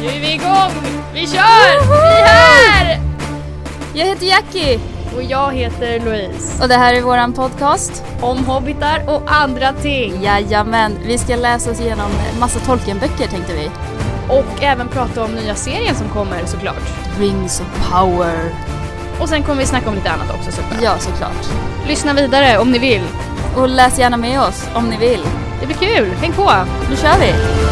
Nu är vi igång! Vi kör! Vi är här! Jag heter Jackie Och jag heter Louise. och det här är våran podcast. Om hobbitar och andra ting. Jajamän, vi ska läsa oss igenom massa Tolkienböcker tänkte vi. Och även prata om nya serien som kommer såklart. Rings of power. Och sen kommer vi snacka om lite annat också såklart. Ja, såklart. Lyssna vidare om ni vill. Och läs gärna med oss om ni vill. Det blir kul, häng på! Nu kör vi!